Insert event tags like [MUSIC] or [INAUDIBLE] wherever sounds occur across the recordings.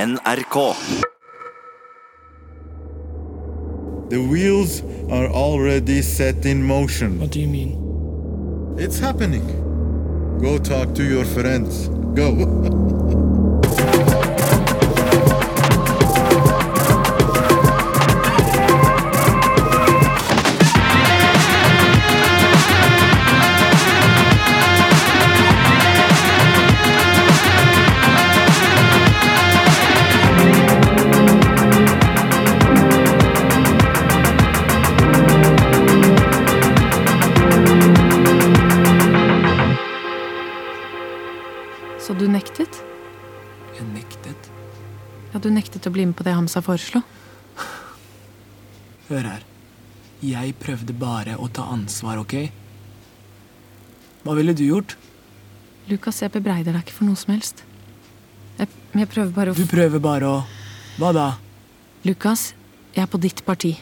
NRK. The wheels are already set in motion. What do you mean? It's happening. Go talk to your friends. Go. [LAUGHS] Så du nektet? Jeg nektet. Ja, du nektet å bli med på det Hamsa foreslo. Hør her. Jeg prøvde bare å ta ansvar, OK? Hva ville du gjort? Lukas, jeg bebreider deg ikke for noe som helst. Jeg, men jeg prøver bare å Du prøver bare å Hva da? Lukas, jeg er på ditt parti.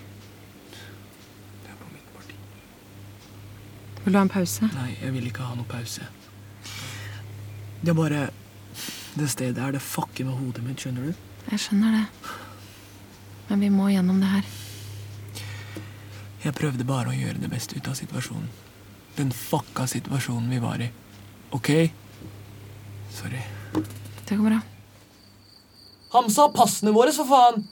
Det er på mitt parti. Vil du ha en pause? Nei, jeg vil ikke ha noe pause. Det er bare Det stedet her, det fucker med hodet mitt, skjønner du? Jeg skjønner det. Men vi må gjennom det her. Jeg prøvde bare å gjøre det beste ut av situasjonen. Den fucka situasjonen vi var i. OK? Sorry. Det går bra. Hamsa, passene våre, for faen!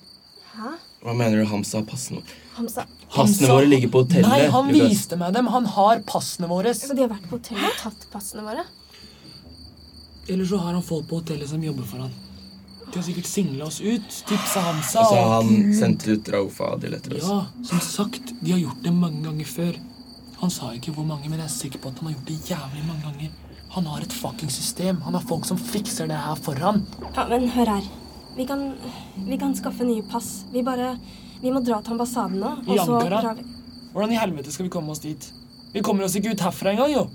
Hva mener du Hamsa har passene våre? Hamsa. Passene våre ligger på hotellet. Nei, han Lukas. viste meg dem. Han har passene våre. Men de har vært på hotellet og tatt passene våre. Eller så har han folk på hotellet som jobber for han. De har sikkert singla oss ut. Tipsa Hamsa. Og så har og- han sendt ut Raufa og Adil etter oss. Ja, som sagt, de har gjort det mange ganger før. Han sa ikke hvor mange, men jeg er sikker på at han har gjort det jævlig mange ganger. Han har et fucking system. Han har folk som fikser det her for han. Ja, men hør her. Vi kan, vi kan skaffe nye pass. Vi bare Vi må dra til ambassaden nå. I Ankara? drar vi Hvordan i helvete skal vi komme oss dit? Vi kommer oss ikke ut herfra engang, jo.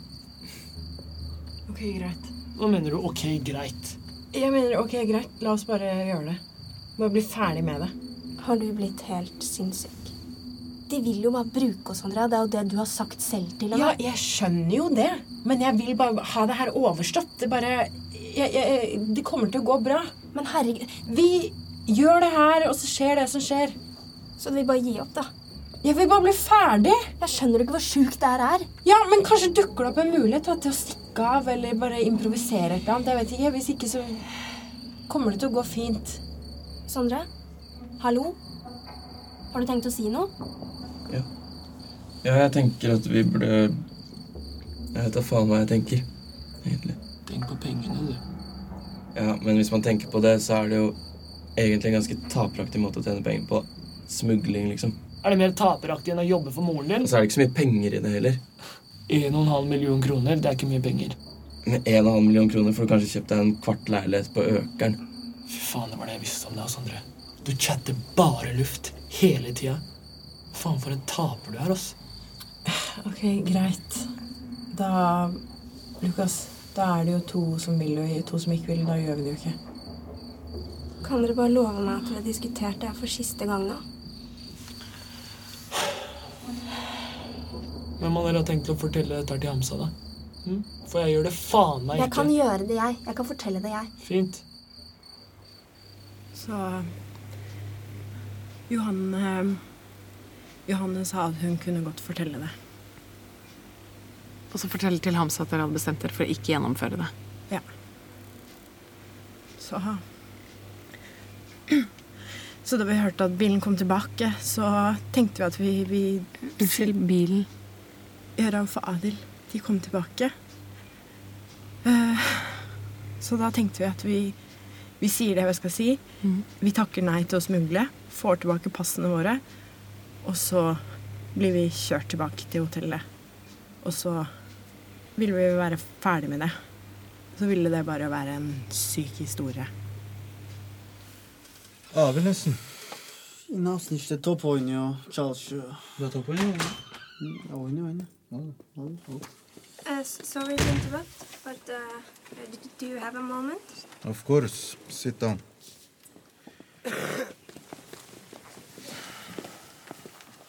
Ok, greit. Hva mener du? Ok, greit. Jeg mener, ok, greit. La oss bare gjøre det. Bare bli ferdig med det. Har du blitt helt sinnssyk? De vil jo bare bruke oss, Andrea. Det er jo det du har sagt selv til Ja, henne. jeg skjønner jo det. Men jeg vil bare ha det her overstått. Det bare jeg, jeg, Det kommer til å gå bra. Men herregud, Vi gjør det her, og så skjer det som skjer. så du vil bare gi opp, da? Jeg vil bare bli ferdig. Jeg skjønner ikke hvor sjukt det her er. Ja, men kanskje dukker det opp en mulighet da, til å stikke av eller bare improvisere et eller annet. Jeg vet ikke. Hvis ikke, så kommer det til å gå fint. Sondre? Hallo? Har du tenkt å si noe? Ja, jeg tenker at vi burde Jeg vet da faen hva jeg tenker, egentlig. Tenk på pengene, du. Ja, Men hvis man tenker på det, så er det jo egentlig en ganske taperaktig måte å tjene penger på. Smugling, liksom. Er det mer taperaktig enn å jobbe for moren din? Og så er det ikke så mye penger i det heller. 1,5 million kroner, det er ikke mye penger. Med 1,5 million kroner får du kanskje kjøpt deg en kvart leilighet på Økeren. Fy faen, det var det jeg visste om deg, Sondre. Du chatter bare luft hele tida. Faen, for en taper du er, ass. Ok, greit. Da Lukas, da er det jo to som vil og to som ikke vil. Da gjør vi det jo ikke. Kan dere bare love meg at dere har diskutert det her for siste gang nå? Hvem av dere har tenkt å fortelle dette til Hamsa, da? Hm? For jeg gjør det faen meg Jeg ikke. kan gjøre det, jeg. Jeg kan fortelle det, jeg. Fint. Så Johan, eh, Johanne sa at hun kunne godt fortelle det. Og så fortell til Hamsa at dere hadde bestemt dere for å ikke gjennomføre det. Ja. Så Så da vi hørte at bilen kom tilbake, så tenkte vi at vi, vi Unnskyld, bilen. Rauf og Adil, de kom tilbake. Eh, Så da tenkte vi at vi, vi sier det vi skal si. Vi takker nei til å smugle, får tilbake passene våre, og så blir vi kjørt tilbake til hotellet. Og så ville vi være ferdig med det. Så ville det bare være en syk historie. Abi nasılsın? Nasıl işte top oynuyor, çalışıyor. Du har tatt på det? Ya oyna oyna. Uh, sorry to interrupt, but uh, do you have a moment? Of course. Sit down. [COUGHS]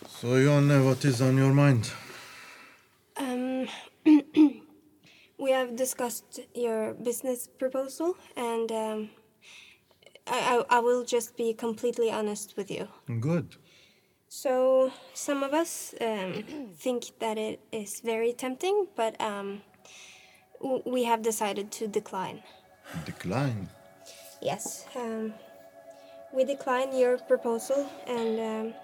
So, Yone, what is on your mind? Um, we have discussed your business proposal, and um, I, I, I will just be completely honest with you. Good. So, some of us um, [CLEARS THROAT] think that it is very tempting, but um, w- we have decided to decline. Decline. Yes. Um, we decline your proposal and um,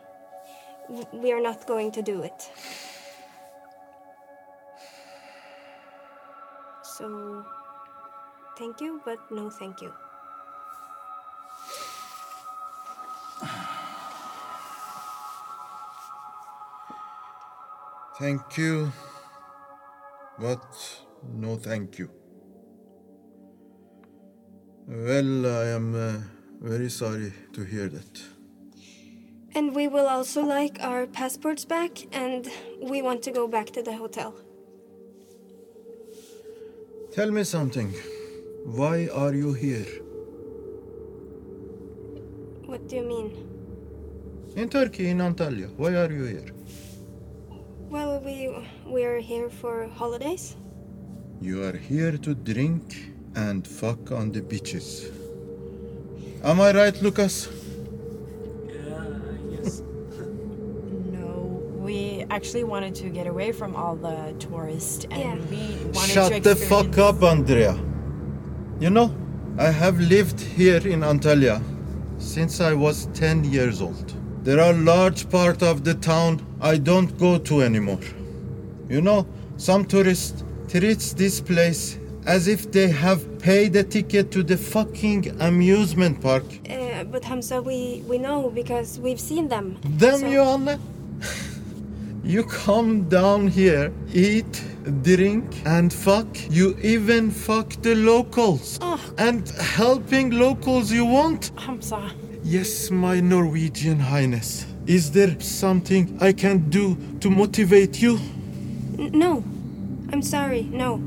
w- we are not going to do it. So, thank you, but no thank you. Thank you. But no thank you. Well, I am uh, very sorry to hear that. And we will also like our passports back and we want to go back to the hotel. Tell me something. Why are you here? What do you mean? In Turkey, in Antalya. Why are you here? Well, we we are here for holidays. You are here to drink and fuck on the beaches. Am I right, Lucas? No, we actually wanted to get away from all the tourists and Yeah. we wanted to Shut the fuck up, Andrea. You know, I have lived here in Antalya since I was 10 years old. There are large part of the town I don't go to anymore. You know, some tourist treats this place as if they have paid a ticket to the fucking amusement park. Uh, but Hamza, we, we know because we've seen them. Damn So- you, Anne! you come down here, eat, drink, and fuck. You even fuck the locals. And helping locals you want? Hamza. Yes, my Norwegian Highness. Is there something I can do to motivate you? N- no, I'm sorry. No,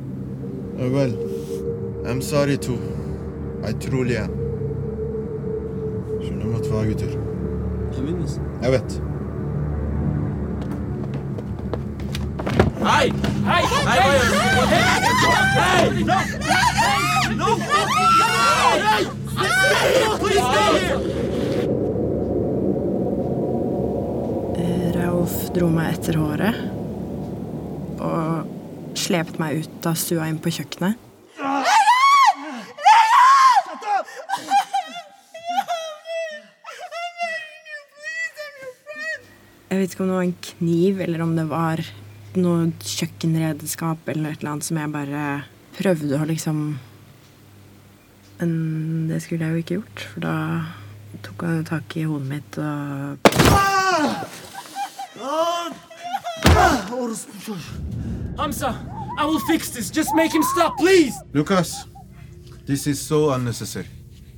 Uh, well, I'm sorry too. I truly am. Şunu mutfağa götür. Emin misin? Evet. Hei! Hei! Hei, hva gjør du? Hei! No! Rauf dro meg etter håret og slepet meg ut av stua inn på kjøkkenet. Jeg vet ikke om det var en kniv, eller om det var noe kjøkkenredskap eller et eller annet som jeg bare prøvde å liksom Men det skulle jeg jo ikke gjort, for da tok han tak i hodet mitt og Hamza, I will fix this. Just make him stop, please. Lucas, this is so unnecessary.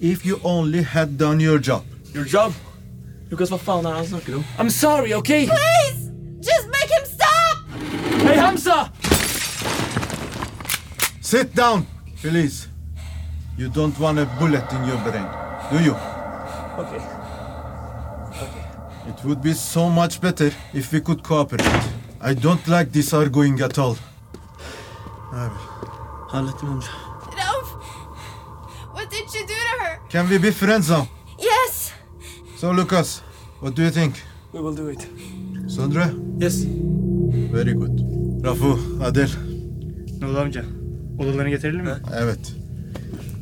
If you only had done your job. Your job? Lukas, hva faen er det han snakker om? I'm sorry, okay? Please! Just make him stop! Hey, Hamza! Sit down, please. You don't want a bullet in your brain, do you? Ok. It would be so much better if we could cooperate. I don't like this arguing at all. Hallettim amca. Ralph! What did you do to her? Can we be friends now? Yes! So, Lucas, what do you think? We will do it. Sondre? Yes. Very good. Rafu, Adel. Ne oldu amca? Odalarını getirelim mi? Evet.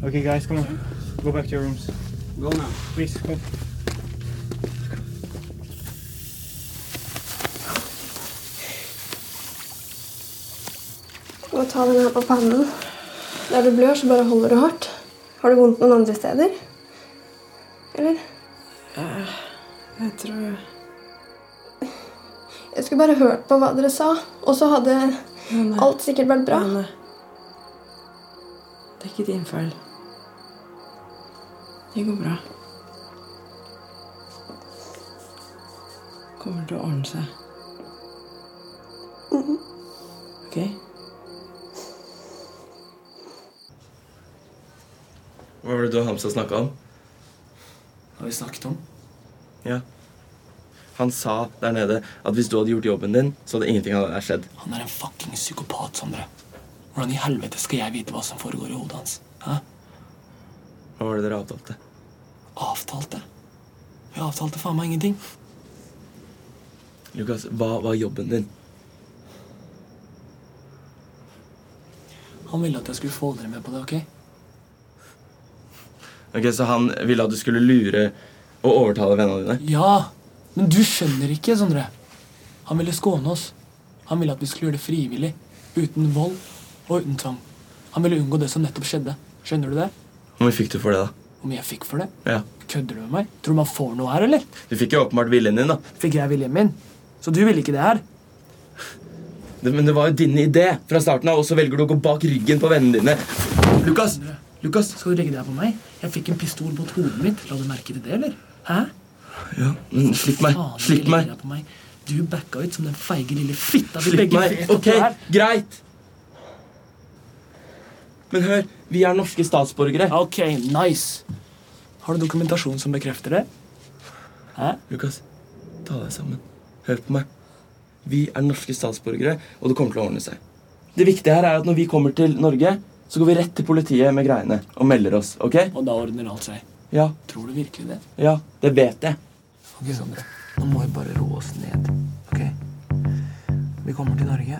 Okay guys, come on. Go back to your rooms. Go now. Please, go. Må ta den her på pannen. Der du blør, så bare holder du hardt. Har du vondt noen andre steder? Eller? Jeg tror Jeg skulle bare hørt på hva dere sa, og så hadde alt sikkert vært bra. Anne. Det er ikke din feil. Det går bra. Kommer til å ordne seg. OK? Hva var det du og Hamza snakka om? Har vi snakket om? Ja. Han sa der nede at hvis du hadde gjort jobben din, så hadde ingenting av det der skjedd. Han er en fucking psykopat, Sondre. Hvordan i helvete skal jeg vite hva som foregår i hodet hans? Hæ? Hva var det dere avtalte? avtalte. Vi avtalte faen meg ingenting. Lukas, hva var jobben din? Han ville at jeg skulle få dere med på det, ok? Ok, Så han ville at du skulle lure og overtale vennene dine? Ja, men du skjønner ikke, Sondre. Han ville skåne oss. Han ville at vi skulle gjøre det frivillig, uten vold og uten tvang. Han ville unngå det som nettopp skjedde. Skjønner du det? Hvor mye fikk du for det, da? Om jeg fikk for det? Ja. Kødder du med meg? Tror du man får noe her, eller? Du fikk jo åpenbart viljen din, da. Fikk jeg viljen min? Så du ville ikke det her? Det, men det var jo din idé fra starten av, og så velger du å gå bak ryggen på vennene dine. Lukas! Lukas! Skal du legge det her på meg? Jeg fikk en pistol mot hodet mitt. La du merke til det, eller? Hæ? Ja, men slipp meg. Faen, Slipp ikke legg meg. deg på meg. Du backa ut som den feige lille fitta vi Slipp begge meg. vet at Ok, du er. greit. Men hør, vi er norske statsborgere. Ok, nice. Har du dokumentasjon som bekrefter det? Hæ? Lukas, ta deg sammen. Hør på meg. Vi er norske statsborgere, og det kommer til å ordne seg. Det viktige her er at når vi kommer til Norge, så går vi rett til politiet med greiene og melder oss. ok? Og da ordner alt seg. Ja, Tror du virkelig det? ja, det vet jeg. Ok, Sondre. Nå må vi bare roe oss ned. Ok? Vi kommer til Norge,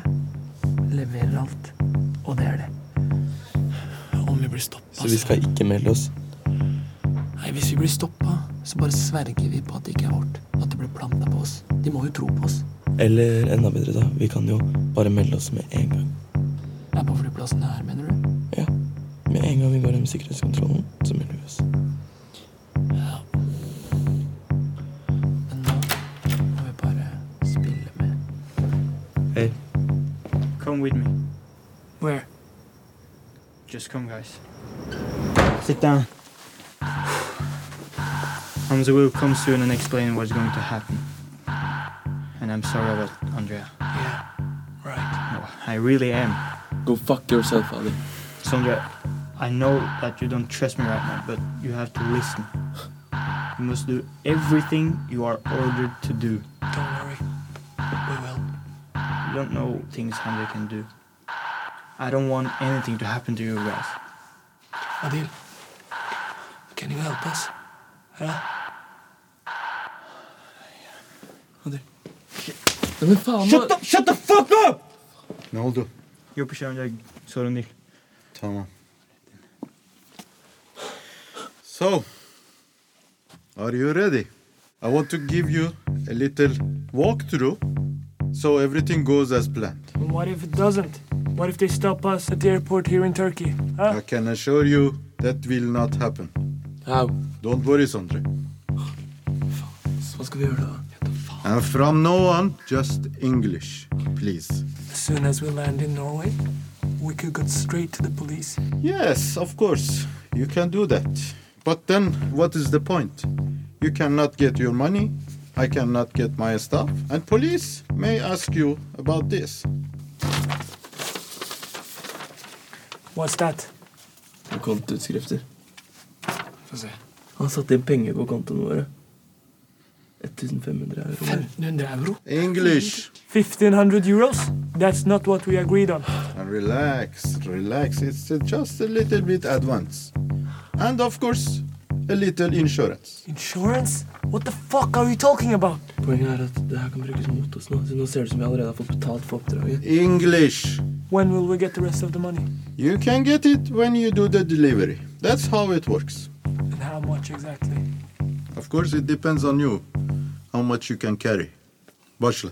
leverer alt, og det er det. Om vi blir stoppa skal ikke melde oss? Nei, Hvis vi blir stoppa, så bare sverger vi på at det ikke er vårt. At det ble planta på oss. De må jo tro på oss. Eller enda bedre, da. Vi kan jo bare melde oss med en gang. Det er på flyplassen her, mener du? Ja. Med en gang vi går gjennom sikkerhetskontrollen, så melder vi oss. Ja. Men nå må vi bare spille med. Hei. Come with me. Where? Just come, guys. Sit down. Hamza will come soon and explain what's going to happen. And I'm sorry about Andrea. Yeah. Right. No, I really am. Go fuck yourself, Ali. Sandra, I know that you don't trust me right now, but you have to listen. You must do everything you are ordered to do. Don't worry. We will. You don't know things Hamza can do. I don't want anything to happen to you guys. Adil, can you help us? Hæ? Men faen, nå- up! Shut the fuck up! Ne oldu? Yok bir şey olmayacak. Sorun değil. Tamam. So, are you ready? I want to give you a little walkthrough so everything goes as planned. And what if it doesn't? What if they stop us at the airport here in Turkey? Huh? I can assure you that will not happen. How? Don't worry, Sondre. Så hva skal vi gjøre da? And from now on, just English, please. As soon as we land in Norway, we could go straight to the police. Yes, of course. You can do that. But then, what is the point? You cannot get your money. I cannot get my stuff. And police may ask you about this. What's that? Og kontoutskrifter. Få se. Han satte inn penger på kontoene våre. 1500 euro. 1500 euro? English. 1500 euros? That's not what we agreed on. And relax, relax. It's just a little bit advance. And of course, a little insurance. Insurance? What the fuck are you talking about? Poenget er at det her kan brukes mot oss nå. Så nå ser det ut som vi allerede har fått betalt for oppdraget. English. When will we get the rest of the money? You can get it when you do the delivery. That's how it works. And how much exactly? Of course, it depends on you how much you can carry. Başla.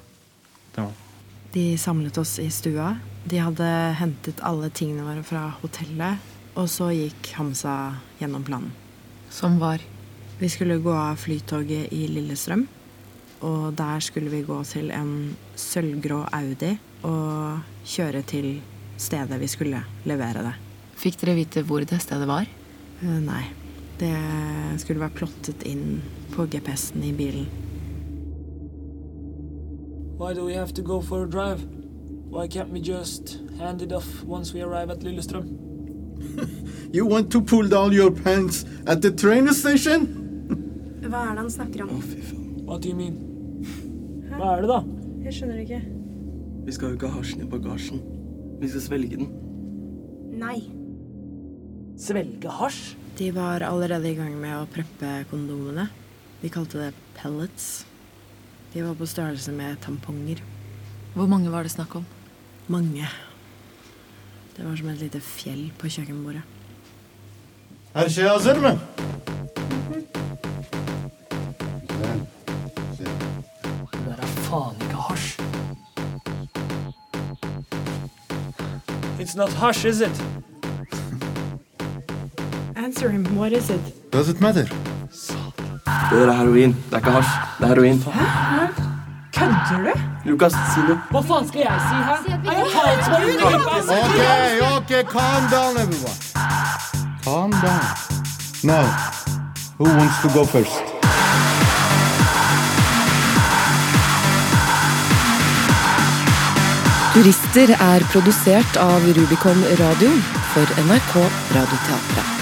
De samlet oss i stua. De hadde hentet alle tingene våre fra hotellet. Og så gikk Hamsa gjennom planen. Som var. Vi skulle gå av flytoget i Lillestrøm. Og der skulle vi gå til en sølvgrå Audi og kjøre til stedet vi skulle levere det. Fikk dere vite hvor det stedet var? Eh, Nei. Det skulle være plottet inn på GPS-en i bilen. Why do we have to go for a drive? Why can't we just hand it off once we arrive at Lillestrøm? You want to pull down your pants at the train station? Hva er det han snakker om? What do you mean? Hva er det da? Jeg skjønner ikke. Vi skal jo ikke ha hasjen i bagasjen. Vi skal svelge den. Nei. Svelge hasj? De var allerede i gang med å preppe kondomene. De kalte det pellets. De var på størrelse med tamponger. Hvor mange var det snakk om? Mange. Det var som et lite fjell på kjøkkenbordet. Her şey hazır mı? Det der er faen ikke hasj. It's not hush, is it? Answer him. What is it? Does it matter? Det der er heroin. Det er ikke hasj. Det er heroin. Kødder du? Lukas, si noe. Hva faen skal jeg si her? Er jeg talsmann i Okay, okay, calm down, everyone. Calm down. Now, who wants to go first? Turister er produsert av Rubicon Radio for NRK Radioteatret.